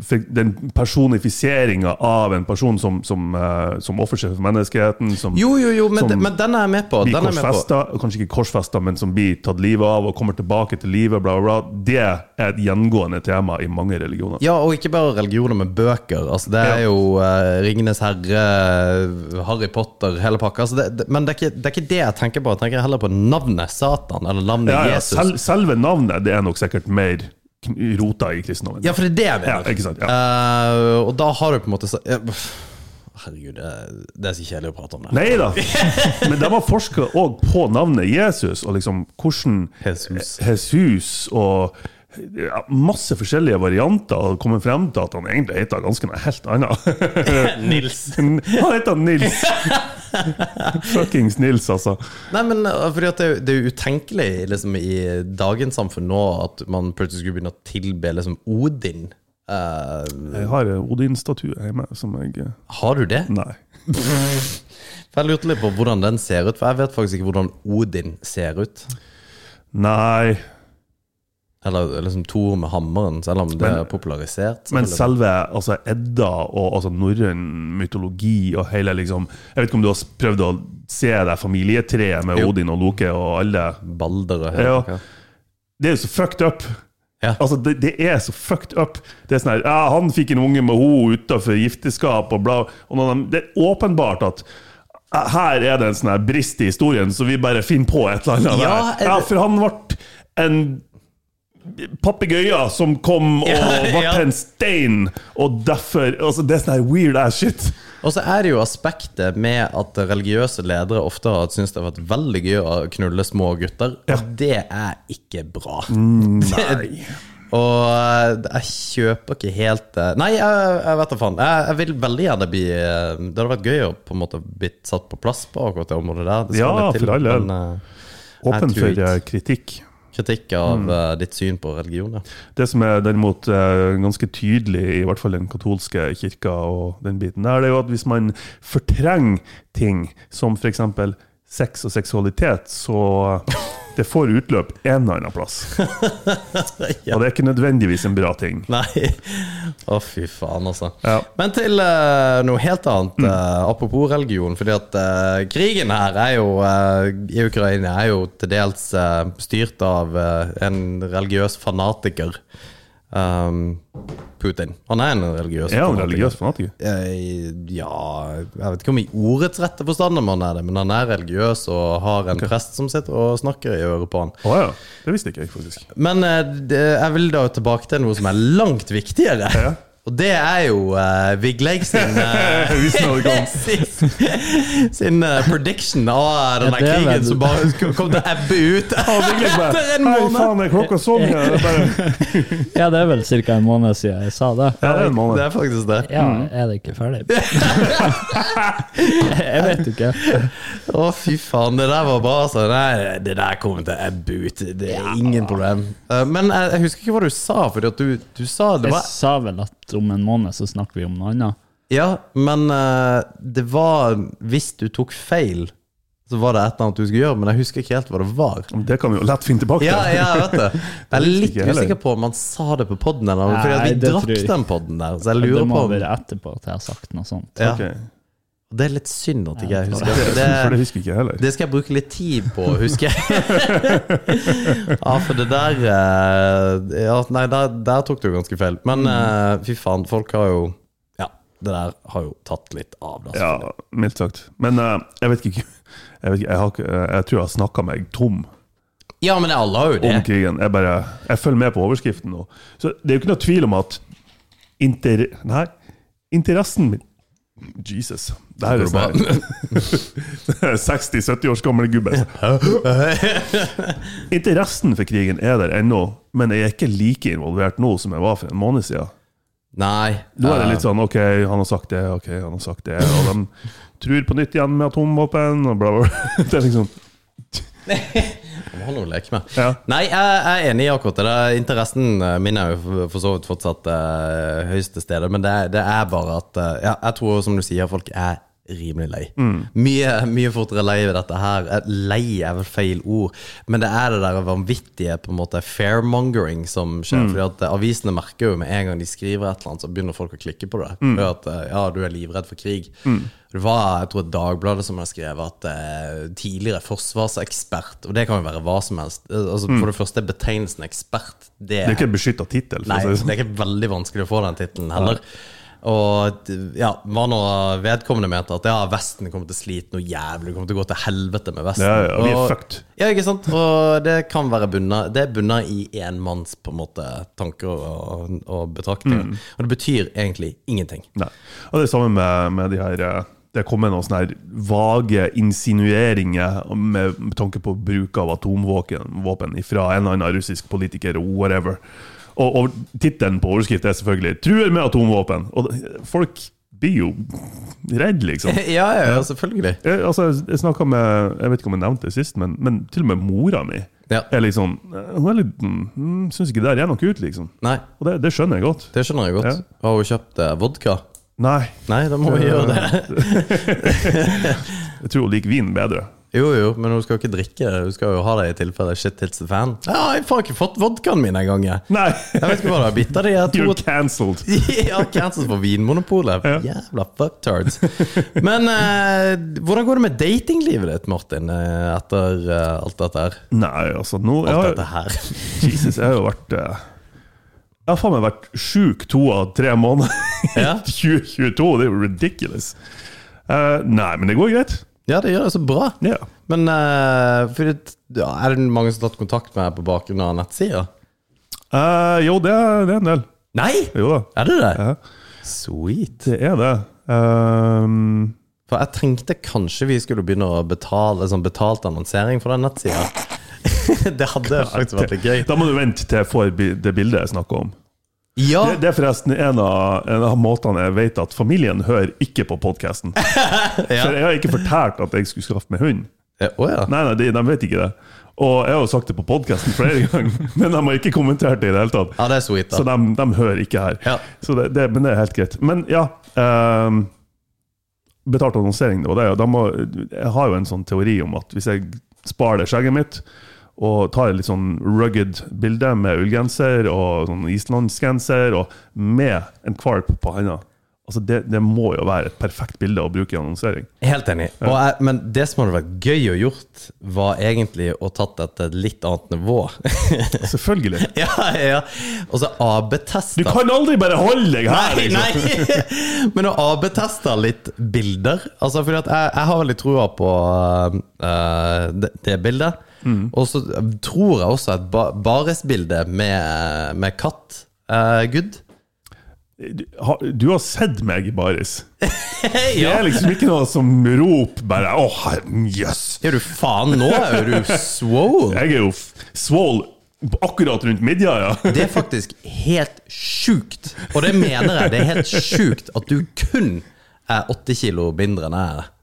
C: for den personifiseringa av en person som, som, eh, som offer seg for menneskeheten, som
B: Jo, jo, jo, men,
C: Som
B: men den er jeg med på.
C: blir
B: Den er jeg med på.
C: korsfesta, kanskje ikke korsfesta, men som blir tatt livet av og kommer tilbake til livet, bla, bla, bla. Det er et gjengående tema i mange religioner.
B: Ja, og ikke bare religioner, men bøker. Altså, det er
C: Ja.
B: jo eh, Ringenes herre, Harry Potter, hele pakka. Altså, det, det, men det er, ikke, det er ikke det jeg tenker på. Jeg tenker heller på navnet Satan, eller navnet
C: Ja, ja,
B: Jesus.
C: sel, selve navnet det er nok sikkert mer kn- rota i kristendommen.
B: Ja, for det er det jeg
C: Ja,
B: mener.
C: ikke sant? Ja.
B: Eh, og da har du på en måte så, ja, pff. Herregud, det, det er så kjedelig å prate om det.
C: Nei da. Men de har forska òg på navnet Jesus, og liksom hvordan
B: Jesus.
C: Jesus og ja, masse forskjellige varianter, og kommer frem til at han egentlig heter ganske noe helt annet.
B: Nils.
C: Han heter Nils! Fuckings Nils, altså.
B: Nei, men uh, fordi at det, er jo- det er jo utenkelig liksom, i dagens samfunn nå at man plutselig skulle begynne å tilbe liksom, Odin. Eh,
C: Jeg har en Odin-statue hjemme som jeg
B: har du det?
C: Nei.
B: For Jeg lurte litt på hvordan den ser ut, for jeg vet faktisk ikke hvordan Odin ser ut.
C: Nei.
B: Eller liksom Thor med hammeren, selv om det
C: Men-
B: er popularisert.
C: Men
B: selvfølgelig.
C: selve altså, Edda og altså, norrøn mytologi og hele liksom Jeg vet ikke om du har s- prøvd å se det familietreet med
B: Jo.
C: Odin og Loke og alle
B: Balder og
C: Ja.
B: hele pakka.
C: Det er jo så fucked up.
B: Ja.
C: Altså, det, det er så fucked up. Det er sånn her, ja, Han fikk en unge med henne utenfor gifteskap og bla. Og noen, av dem- det er åpenbart at eh, her er det en sånn her brist i historien, så vi bare finner på et eller annet.
B: Ja,
C: der.
B: er-
C: ja For han ble en papegøye som kom og
B: Ja,
C: ble
B: ja.
C: en stein, og derfor altså, Det er sånn her weird ass shit.
B: Og så er det jo aspektet med at religiøse ledere ofte har syntes det har vært veldig gøy å knulle små gutter. Og det er ikke bra.
C: Nei.
B: Og eh, jeg kjøper ikke helt eh, Nei, jeg, jeg vet da faen. Jeg, jeg vil veldig gjerne bli eh, Det hadde vært gøy å på en måte blitt satt på plass på akkurat det området der. Det skal
C: Ja,
B: litt til,
C: for all del.
B: men, eh,
C: Åpen
B: Jeg tror
C: for
B: ikke.
C: eh, kritikk.
B: Kritikk av
C: Mm.
B: eh, ditt syn på religion, ja.
C: Det som er derimot eh, ganske tydelig, i hvert fall den katolske kirka og den biten der, det er jo at hvis man fortrenger ting som f.eks. sex og seksualitet, så det får utløp en eller annen plass.
B: Ja.
C: Og det er ikke nødvendigvis en bra ting.
B: Nei. Å, fy faen, altså.
C: Ja. Mm.
B: Men til eh, noe helt annet, eh, apropos religion. Fordi at eh, krigen her er jo, eh, i Ukraina er jo til dels eh, styrt av eh, en religiøs fanatiker. Um, Putin. Han er en religiøs
C: Er han
B: fanatiker.
C: religiøs fanatiker?
B: Eh, ja Jeg vet ikke om i ordets rette forstand om han er det, men han er religiøs og har en prest som sitter og snakker i øret på han.
C: Å ja. Det visste ikke jeg, faktisk.
B: Men eh, det, jeg vil da tilbake til noe som er langt viktigere.
C: Ja.
B: Og det er jo eh, Vigleik sin, eh,
C: Hvis den hadde kommet.
B: sin, sin eh, prediction av den der
D: Ja, det er
B: krigen
D: vel-
B: som bare sk- kom til å ebbe ut
C: Og Vigleik bare,
B: etter en
C: Hei,
B: måned.
C: faen, er klokka sånn? Ja, det er bare,
D: Ja, det er vel ca. en måned siden jeg sa det.
C: ja, det er en
B: Det
C: måned.
B: er faktisk det.
D: Ja, er det ikke ferdig? Jeg vet ikke.
B: Å, fy faen, det der var bra, altså. Nei, det der kommer til å ebbe ut. Det er ingen problem. Eh, men jeg, jeg husker ikke hva du sa, fordi at du, du sa det
D: Jeg
B: var
D: sa vel at om en måned så snakker vi om noe annet.
B: Ja, men eh, det var Hvis du tok feil, så var det et eller annet du skulle gjøre, men jeg husker ikke helt hva det var.
C: Det kan vi jo lett finne tilbake
B: Ja, ja, jeg vet det. Jeg er litt
C: ikke heller.
B: usikker på om han sa det på poden, eller
D: Nei,
B: fordi at vi
D: det tror
B: drakk
D: jeg ikke.
B: den poden der, så jeg
D: Det
B: lurer
D: må
B: på om
D: være etterpå at jeg har sagt noe sånt.
B: ja.
C: Ok.
B: Og det er litt synd at ikke jeg husker. for
C: For det
B: Det,
C: husker ikke jeg heller.
B: det skal jeg bruke litt tid på, husker jeg. ja, for det der eh, ja, Nei, der, der tok du ganske feil. Men eh, fy faen, folk har jo Ja, det der har jo tatt litt av, altså. da.
C: Ja, mildt sagt. Men eh, jeg vet ikke Jeg, vet ikke, jeg, har, ikke- eh, jeg tror jeg har snakka meg tom
B: Ja, men alle har jo det.
C: om krigen. Jeg bare, jeg følger med på overskriften nå. Så det er jo ikke noe tvil om at inter... Nei, interessen min Jesus. Det her er sånn her- 60-70 års gammel gubbe. altså. Interessen for krigen er der ennå, men jeg er ikke like involvert nå som jeg var for en måned siden.
B: Nei.
C: Nå er det
B: eh,
C: litt sånn OK, han har sagt det, OK, han har sagt det, og de tror på nytt igjen med atomvåpen, og bla, bla. bla. Det er liksom
B: Vi har noe å leke med.
C: Ja.
B: Nei, jeg jeg er enig i akkurat det. der. Interessen eh, min er jo for- for så vidt fortsatt eh, høyest til stede, men det, det er bare at eh, ja, Jeg tror, som du sier, folk er rimelig lei.
C: Mm.
B: Mye, mye fortere lei ved dette her. Eh, Lei er vel feil ord, men det er det der vanvittige på en måte fairmongering som skjer.
C: Mm.
B: Fordi at eh, Avisene merker jo med en gang de skriver et eller annet, så begynner folk å klikke på det.
C: Mm.
B: Fordi at eh, ja, du er livredd for krig. Det var jeg tror, Dagbladet som har skrevet at eh, tidligere forsvarsekspert Og det kan jo være hva som helst. Eh, altså, For det første er betegnelsen ekspert det,
C: Mm. Det er ikke en beskytta tittel. for å
B: Nei,
C: si det sånn.
B: det er ikke veldig vanskelig å få den tittelen heller. Og d- ja, hva nå vedkommende mente at ja, Vesten kommer til å slite noe jævlig. Kommer til å gå til helvete med Vesten.
C: Ja, ja, vi er
B: Og-
C: fucked.
B: Ja, ikke sant? Og det kan være bunnet, det er bunnet i én manns på en måte, tanker og, og betraktninger.
C: Mm.
B: Og det betyr egentlig ingenting.
C: Nei. Og det er samme med, med de her eh, Det kommer noen sånne her vage insinueringer med, med tanke på bruk av atomvåpen våpen fra en eller annen russisk politiker og whatever. Og, og tittelen på overskriften er selvfølgelig 'Truer med atomvåpen'. Og det- folk blir jo redd, liksom.
B: ja, ja, ja, selvfølgelig.
C: Jeg, altså, jeg- jeg snakket med Jeg vet ikke om jeg nevnte det sist, men, men til og med mora mi
B: Ja.
C: er liksom Hun er litt mm, Syns ikke det her er noe ut, liksom.
B: Nei,
C: Og det, det skjønner jeg godt.
B: det skjønner jeg godt. Har hun kjøpt eh, vodka?
C: Nei,
B: Nei, da må hun gjøre det.
C: jeg tror hun liker vin bedre.
B: Jo, jo, men hun skal jo ikke drikke det. Hun skal jo ha det i tilfelle shit hits the fan. Ja, jeg har ikke fått vodkaen min engang, jeg.
C: Nei!
B: Jeg vet ikke hva det er. Bitt av de her
C: You're
B: to
C: cancelled.
B: Ja, cancels på Vinmonopolet. Jævla fucktards. Men eh, hvordan går det med datinglivet ditt, Martin, eh, etter eh, alt dette her?
C: Nei, altså nå jeg
B: Alt
C: har,
B: dette her.
C: Jesus, jeg har jo vært eh, Jeg har faen meg vært sjuk to av tre måneder i
B: Ja.
C: 2022. Det er jo ridiculous. Eh, nei, men det går greit.
B: Ja, det gjør det så bra.
C: Ja.
B: Men eh, for det, ja, er det mange som har tatt kontakt med deg på bakgrunn av nettsida?
C: Eh, jo, det er, det er en del.
B: Nei!
C: Jo da.
B: Er det det?
C: Ja.
B: Sweet.
C: Det er det. Ehm,
B: For jeg tenkte kanskje vi skulle begynne å betale sånn betalt annonsering for den nettsida. det hadde faktisk vært litt gøy.
C: da må du vente til jeg får bi- det bildet jeg snakker om.
B: Ja,
C: Det, det er forresten en av, en av måtene jeg vet at familien hører ikke på podkasten. For jeg har ikke fortalt at jeg skulle skaffe meg hund.
B: Eh, Å ja.
C: Nei, nei, de, de vet ikke det. Og jeg har jo sagt det på podkasten flere ganger, men de har ikke kommentert det i det hele tatt.
B: Ja, det er sweet,
C: Så
B: da.
C: de, de hører ikke her.
B: Ja.
C: Så det, det, men det er helt greit. Men ja ehm, Betalt annonsering, det var det. ja. Da må, jeg har jo en sånn teori om at hvis jeg sparer det skjegget mitt og tar et litt sånn rugged bilde med ullgenser og sånn islandsgenser og med en kvalp på handa altså det, det må jo være et perfekt bilde å bruke i annonsering.
B: Helt enig. Og jeg, men det som hadde vært gøy å gjort, var egentlig å tatt det til et litt annet nivå.
C: Selvfølgelig.
B: ja, ja. Og så
C: Du
B: AB-testa.
C: kan aldri bare holde deg her!
B: Nei,
C: liksom.
B: nei! Men å AB-teste litt bilder Altså, fordi at jeg, jeg har veldig trua på eh, det, det bildet. Og så tror jeg også at ba, Baris-bildet med, med katt eh, er good.
C: du, har- du har sett meg i baris. Det
B: ja.
C: er liksom ikke noe som rop bare Å, herre jøss!
B: Gjør du faen nå? Er du swole?
C: Jeg er jo f- svål akkurat rundt midja, ja.
B: Det er faktisk helt sjukt. Og det mener jeg. Det er helt sjukt at du kun er 80 kilo mindre enn jeg er.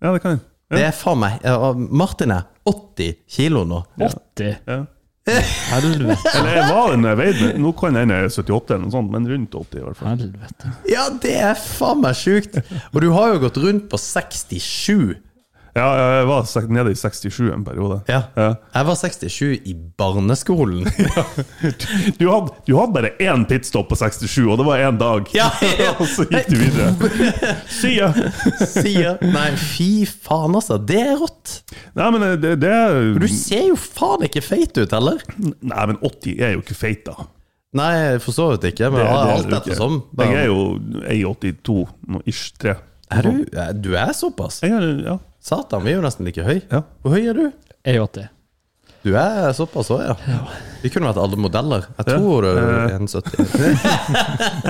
C: Ja, det kan jeg.
B: Det er faen meg ja, Martin er 80 kilo nå.
D: 80?
C: Ja.
D: Helvete.
C: Eller jeg var den jeg veide, men nå kan jeg hende jeg er 78 eller noe sånt, men rundt 80 i hvert fall.
D: Helvete.
B: Ja, det er faen meg sjukt! Og du har jo gått rundt på 67.
C: Ja, jeg var sek- nede i 67 en periode.
B: Ja. Jeg var 67 i barneskolen.
C: Du hadde, du hadde bare én pitstop på 67, og det var én dag.
B: Ja, ja.
C: og så gikk du videre. See ya!
B: Sier Nei, fy faen, altså. Det er rått.
C: Nei, men eh, det, det
B: Du ser jo faen ikke feit ut, heller.
C: Nei, men 80 er jo ikke feit, da.
B: Nei, for så vidt ikke, men
C: Det- det er
B: alt
C: du ikke.
B: ettersom.
C: Jeg er jo 1,82, noe ish, 3.
B: Er du, er- du er såpass?
C: Jeg er, ja.
B: Satan, vi er jo nesten like høy.
C: Ja.
B: Hvor høy er du?
D: Jeg er 80.
B: Du er såpass òg, ja. Vi kunne vært alle modeller. Jeg tror du
C: Eh.
B: er 1,70.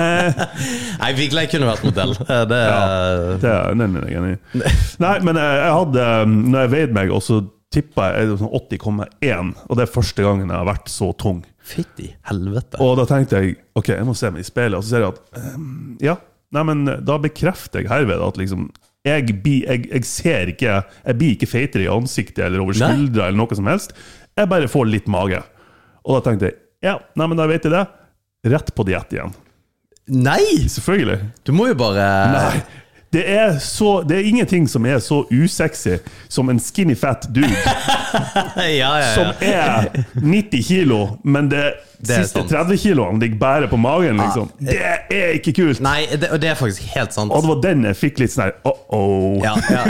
B: Nei, Vigleid kunne vært modell. Eh, Det er
C: Det er den er jeg enig i. Nei, men jeg, jeg hadde um, Når jeg veide meg, og så tippa jeg sånn 80,1, og det er første gangen jeg har vært så tung.
B: Fytti helvete.
C: Og da tenkte jeg ok, jeg må se meg i speilet, og så ser jeg at ehm, ja, nei, men eh, da bekrefter jeg herved at liksom jeg, blir- jeg, jeg ser ikke Jeg blir ikke feitere i ansiktet eller over
B: Nei.
C: skuldra eller noe som helst. Jeg bare får litt mage. Og da tenkte jeg ja, nei, men da vet jeg det. Rett på diett igjen.
B: Nei!
C: Selvfølgelig.
B: Du må jo bare
C: Nei. Det er, så, det er ingenting som er så usexy som en skinny fat dude
B: Ja, ja,
C: som
B: ja.
C: er 90 kilo, men det,
B: Det er
C: siste
B: sant.
C: 30 kiloene ligger bare på magen, liksom. Det er ikke kult!
B: Nei, det, og det er faktisk helt sant.
C: Og det var den jeg fikk litt sånn her uh-oh.
B: Ja, ja.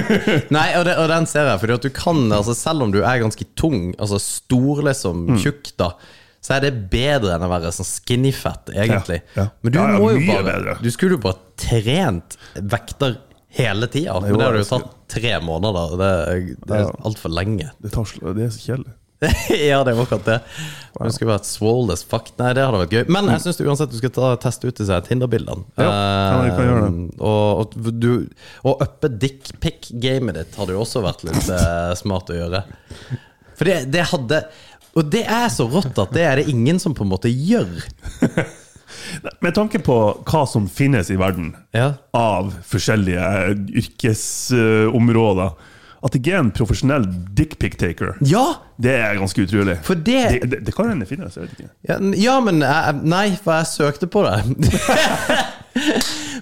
B: Nei, og, det, og den ser jeg, fordi at du kan, altså selv om du er ganske tung, altså stor liksom,
C: Mm.
B: tjukk da, så er det bedre enn å være sånn skinny fat, egentlig.
C: Ja, ja.
B: Men du
C: Ja, ja,
B: må jo
C: mye
B: bare,
C: bedre.
B: du skulle jo bare trent vekter hele tida, men det har det jo tatt tre måneder, da. det, det er
C: Ja.
B: altfor lenge.
C: Det, tar, sl- det er så kjedelig.
B: ja, det var akkurat det. Men det skulle vært swole as fuck. Nei, det hadde vært gøy. Men jeg syns uansett du skal ta, teste ut disse Tinder-bildene.
C: Ja, ja, vi kan gjøre det.
B: Eh, og, og, du, og uppe dickpic-gamet ditt hadde jo også vært litt eh, smart å gjøre. For det, det hadde Og det er så rått at det er det ingen som på en måte gjør.
C: Med tanke på hva som finnes i verden
B: Ja.
C: av forskjellige eh, yrkesområder, at det ikke er en profesjonell dickpic-taker,
B: Ja!
C: det er ganske utrolig.
B: For det-
C: det, det, det kan hende det finnes, jeg vet ikke.
B: Ja, n- ja men jeg, Nei, for jeg søkte på det.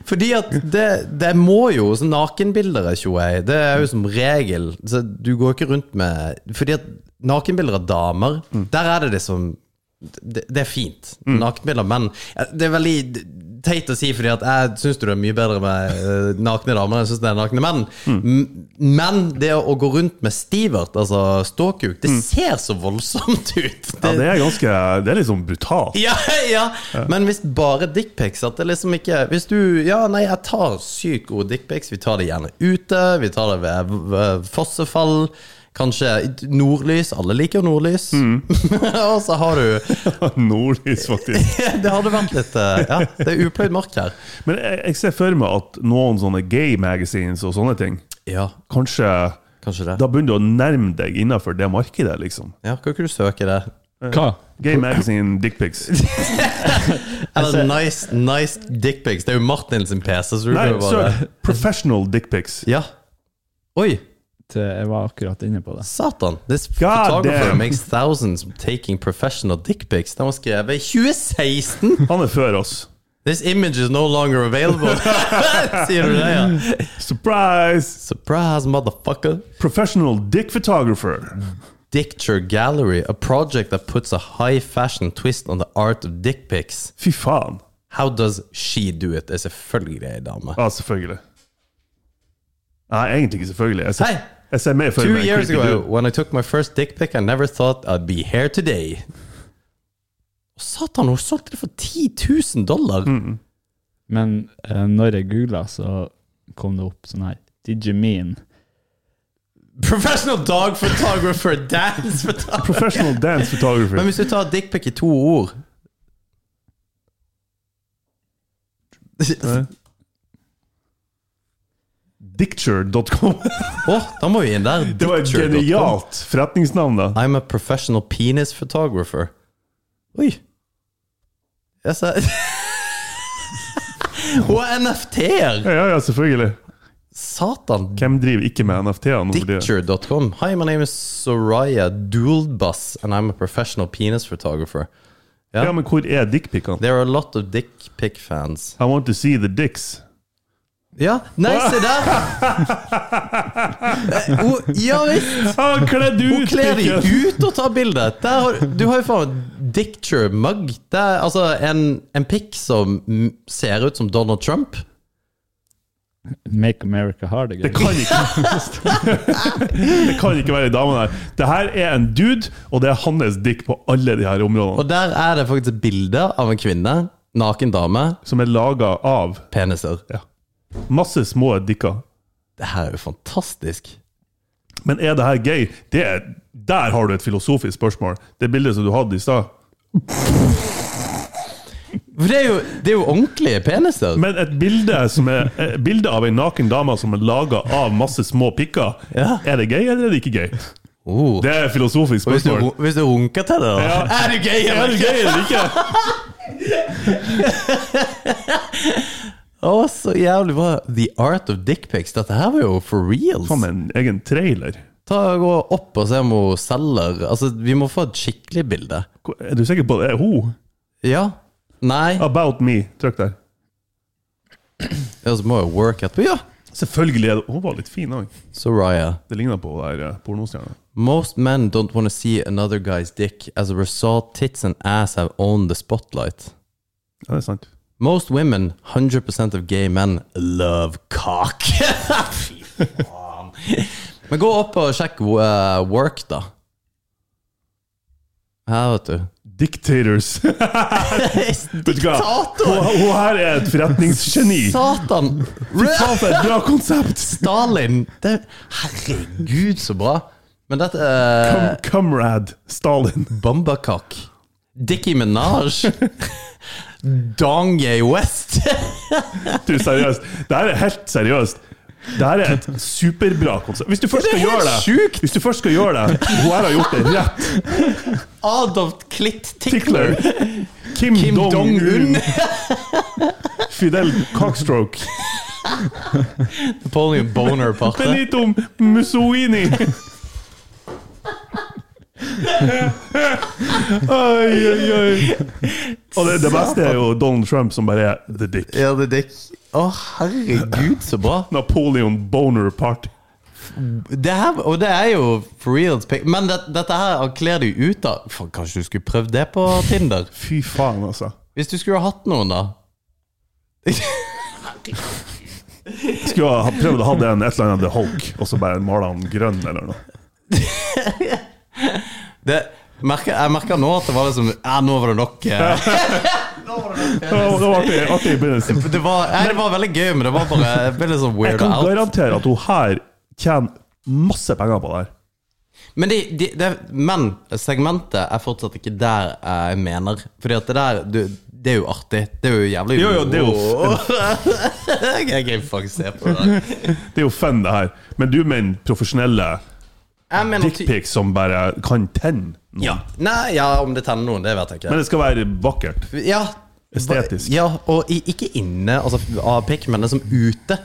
B: Fordi at det, det må jo så Nakenbilder er tjoei. Det er jo som regel så Du går ikke rundt med Fordi at nakenbilder av damer,
C: Mm.
B: der er det liksom Det, det er fint. Nakenbilder av menn ja, Det er veldig teit å si, fordi at jeg syns du det er mye bedre med eh, nakne damer enn jeg syns det er nakne menn.
C: Mm.
B: M- Men det å gå rundt med stivert, altså ståkuk, det ser så voldsomt ut.
C: Mm. Ja, det er ganske Det er liksom brutalt.
B: Ja, ja. Men hvis bare dickpics At det liksom ikke Hvis du Ja, nei, jeg tar sykt gode dickpics. Vi tar det gjerne ute. Vi tar det ved, ved fossefall. Kanskje nordlys. Alle liker jo nordlys. Og så har du
C: Nordlys, faktisk.
B: Det hadde vært litt eh, Ja, det er upløyd mark her.
C: Men jeg, jeg ser for meg at noen sånne gay magazines og sånne ting
B: Ja,
C: Kanskje,
B: kanskje det.
C: Da begynner du å nærme deg innafor det markedet, liksom.
B: Ja, kan ikke du søke det?
D: Hva?
C: Gay magazine dickpics.
B: Eller nice, nice dickpics. Det er jo Martin sin PC, så du
C: Nei,
B: kan jo bare
C: søk professional dickpics.
B: Ja. Oi!
D: Det- Jeg var akkurat inne på det.
B: Satan! This
C: God
B: photographer
C: damn.
B: makes thousands taking professional dickpics. Den var skrevet i 2016!
C: Han er før oss.
B: This image is no longer available. Sier du det, ja?
C: Surprise!
B: Surprise, motherfucker.
C: Professional dick photographer.
B: Dicture Gallery, a project that puts a high fashion twist on the art of dickpics.
C: Fy faen.
B: How does she do it? Det er selvfølgelig ei dame.
C: Ja, selvfølgelig. Nei, egentlig ikke selvfølgelig. Jeg ser,
B: Hei!
C: jeg ser mer for
B: Two
C: meg en
B: years
C: creepy
B: ago,
C: dude.
B: when I took my first dickpic, I never thought I'd be here today. Satan, hun solgte det for 10 000 dollar!
C: Mm.
D: Men eh, når jeg googla, så kom det opp sånn her Digimine.
B: Professional dog photographer, dance photographer
C: Professional dance
B: Men
C: photographer.
B: hvis du tar dickpic i to ord Åh,
C: Dicture.com.
B: da må vi inn der.
C: Det var et
B: Dicture.com.
C: genialt forretningsnavn, da.
B: I'm a professional penis photographer. Oi. Jeg sa Hun er NFT-er!
C: Ja, ja, ja, selvfølgelig.
B: Satan.
C: Hvem driver ikke med NFT-er nå? for tiden?
B: Dicture.com. Hi, my name is Soraya Duldbus, and I'm a professional penis photographer.
C: Ja, men hvor er dickpicene?
B: There are a lot of dick pic fans.
C: I want to see the dicks.
B: Ja, nei, se der! Eh, hun- Ja visst!
C: Han kledd ut!
B: Hun kler deg
C: Mikkel.
B: ut og tar bilde! Der har- Du har jo faen Dicture-mug. Det er altså en, en pikk som mm, ser ut som Donald Trump.
D: Make America Hard again.
C: Det kan ikke Det kan ikke være ei dame der. Det her er en dude, og det er hans dick på alle de her områdene.
B: Og der er det faktisk et bilde av en kvinne, naken dame,
C: Som er laga av
B: peniser.
C: masse små dicker.
B: Det her er jo fantastisk.
C: Men er det her gøy? Det er, der har du et filosofisk spørsmål. Det bildet som du hadde i stad.
B: For det er jo, det er jo ordentlige peniser.
C: Men et bilde, som er, et bilde av ei naken dame som er laga av masse små pikker,
B: Ja.
C: er det gøy eller er det ikke gøy?
B: Oh.
C: Det er et filosofisk
B: Og hvis, du,
C: spørsmål.
B: hvis du runker til det, da
C: Ja.
B: Er du gøy
C: Er
B: eller
C: det
B: ikke?
C: gøy eller ikke?
B: Å, så jævlig bra. The Art of Dickpics. Dette her var jo for reals.
C: Faen, en egen trailer.
B: Ta og Gå opp og se om hun selger. Altså, Vi må få et skikkelig bilde.
C: Hvor- Er du sikker på det? Er hun?
B: Ja. Nei.
C: About me. Trykk der.
B: Ja, så må jeg work etterpå. Ja!
C: Selvfølgelig er det Hun var litt fin òg.
B: Soraya.
C: Det ligna på hun der eh, pornostjerna.
B: Most men don't want to see another guy's dick. As a result, tits and ass have owned the spotlight.
C: Ja, det er sant.
B: Most women, 100% of gay men, love cock. Fy faen. Men gå opp og sjekk eh, work, da. Her, vet du.
C: Dictators. Vet du hva?
B: Diktator!
C: Hun, hun her er et forretningsgeni.
B: Satan!
C: Faen, for et bra konsept!
B: Stalin! Det, herregud, så bra. Men dette er
C: Com- Comrade Stalin.
B: Bombakak. Dickie Minaj. Donge West.
C: Du, seriøst. Det her er helt seriøst. Det her er et superbra konsept. Hvis du først
B: Det er
C: skal gjøre
B: helt
C: det
B: sjukt!
C: Hvis du først skal gjøre det Hun her har gjort det rett.
B: Adolf Klitt
C: Tickler.
B: Tickler.
C: Kim,
B: Kim
C: Dong-un.
B: Dong-un.
C: Fidel Cockstroke.
B: Napoleon Boner-parte.
C: Benito Mussolini. Oi, oi, oi. Og det, det beste er jo Donald Trump som bare er the dick.
B: Ja, det er dick. Å, herregud, så bra.
C: Napoleon Boner Party.
B: Det her, og det er jo for real. pic- Men det, dette her han kler deg ut av. Faen, kanskje du skulle prøvd det på Tinder?
C: Fy faen, altså.
B: Hvis du skulle ha hatt noen, da.
C: Skulle ha prøvd å ha den et eller annet The Hulk, og så bare male han grønn eller noe.
B: Det, merker, jeg merker nå at det var liksom Ja, nå var det nok. eh.
C: Det var, det var artig, artig i begynnelsen.
B: Det var, nei, det var veldig gøy, men det var bare jeg ble litt sånn
C: Jeg
B: weird
C: kan
B: out.
C: garantere at hun her tjener masse penger på det her.
B: Men, de, de, det, men segmentet er fortsatt ikke der jeg mener. Fordi at det der du, Det er jo artig. Det er jo jævlig
C: Jo, jo, det er jo-
B: Åh. Jeg kan faktisk se på det. der.
C: Det er jo fun, det her. Men du mener profesjonelle
B: Jeg mener ty-
C: dickpics som bare kan tenne noen?
B: Ja. Nei, ja, om det tenner noen, det vet jeg ikke.
C: Men det skal være vakkert.
B: ja,
C: Estetisk.
B: ja, og i, ikke inne, altså av pikk, men liksom ute.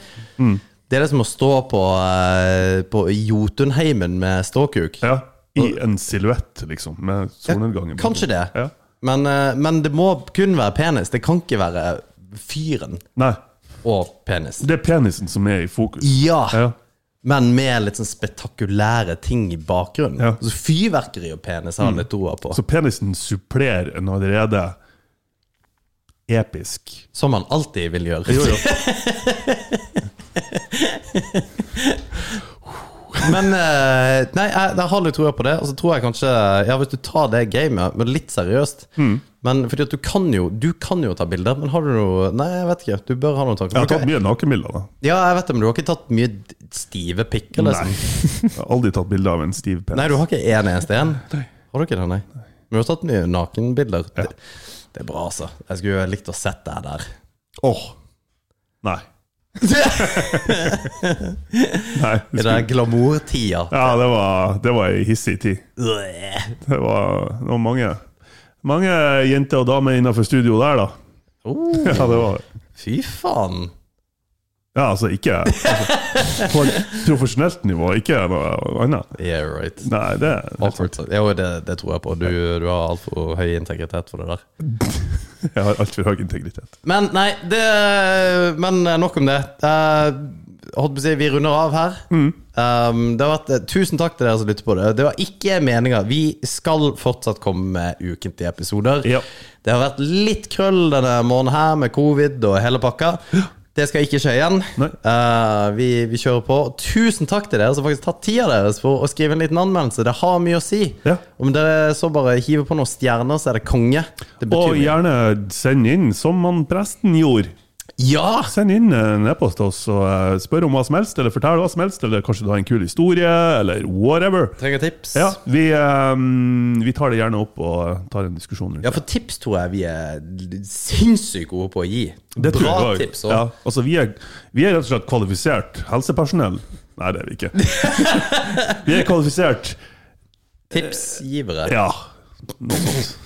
C: Mm.
B: Det er det som å stå på, eh, på Jotunheimen med ståkuk.
C: Ja. I en silhuett, liksom, med solnedgangen.
B: Kanskje det.
C: Ja.
B: Men, eh, men det må kun være penis. Det kan ikke være fyren
C: Nei,
B: og penis.
C: det er penisen som er i fokus.
B: Ja,
C: Ja.
B: men med litt sånn spektakulære ting i bakgrunnen.
C: Ja. Mm.
B: Altså Fyrverkeri og penis har jeg litt troa på.
C: Så penisen supplerer en allerede episk
B: Som man alltid vil gjøre.
C: Jo, jo.
B: Men eh, nei, jeg, jeg har litt troa på det. Og så tror jeg kanskje Ja, hvis du tar det gamet men litt seriøst
C: Mm.
B: Men fordi at du kan jo Du kan jo ta bilder, men har du noe Nei, jeg vet ikke. Du bør ha noen tanker.
C: Jeg har tatt
B: Men hva-
C: mye nakenbilder, da.
B: ja, jeg vet det, men du har ikke tatt mye d- stive pikker,
C: Nei.
B: liksom? Nei,
C: Jeg har aldri tatt bilde av en stiv penis.
B: du har ikke én eneste en? Har du ikke det, nei? Men du har tatt mye nakenbilder. Det, det er bra, altså. Jeg skulle jo likt å sett deg der.
C: Åh. Nei. Nei.
B: I
C: Det
B: den glamourtida.
C: ja, det var, det var ei hissig tid.
B: Øh.
C: Det var, det var mange, mange jenter og damer innafor studio der, da.
B: Oh,
C: Ja, det var det.
B: fy faen.
C: Ja, altså ikke altså, På et profesjonelt nivå, ikke noe annet.
B: Yeah, right.
C: Nei, det
B: Awkward. Ja, og det, det tror jeg på. Du, du har altfor høy integritet for det der.
C: Jeg har altfor høy integritet.
B: Men nei, det Men nok om det. Eh, holdt på å si, Vi runder av her.
C: Mm.
B: Um, det har vært, tusen takk til dere som lytter på det. Det var ikke meninga. Vi skal fortsatt komme med ukentlige episoder.
C: Ja.
B: Det har vært litt krøll denne måneden her med covid og hele pakka. Det skal ikke skje igjen.
C: Nei.
B: Eh, vi, vi kjører på. Tusen takk til dere som faktisk har tatt tida deres for å skrive en liten anmeldelse. Det har mye å si.
C: Ja.
B: Om dere så bare hiver på noen stjerner, så er det konge. Det betyr
C: Og
B: mye.
C: gjerne send inn, som han presten gjorde.
B: ja!
C: Send inn en e-post til oss og eh, spør om hva som helst, eller fortell hva som helst, eller kanskje du har en kul historie, eller whatever.
B: Trenger tips.
C: Ja, vi, eh, vi tar det gjerne opp og tar en diskusjon rundt
B: Ja, for tips tror jeg vi er sinnssykt gode på å gi.
C: Det tror
B: Bra
C: jeg også.
B: tips.
C: Ja,
B: også.
C: altså vi er, vi er rett og slett kvalifisert helsepersonell. Nei, det er vi ikke. vi er kvalifisert
B: Tipsgivere.
C: Ja, noe sånt.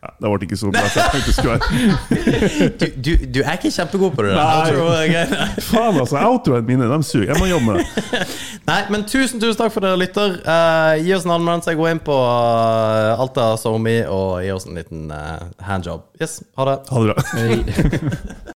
C: Ja, det ble ikke så bra som jeg tenkte det skulle være.
B: Du, du, du er ikke kjempegod på det. der.
C: Nei.
B: Jeg tror jeg er grei.
C: Faen, altså. Outroene mine de suger. Jeg må jobbe med det.
B: Nei, men tusen tusen takk for dere lytter. Eh, gi oss en anmeldelse. Gå inn på eh, Alta SoMe og gi oss en liten eh, handjob. Yes, ha det.
C: Ha det bra.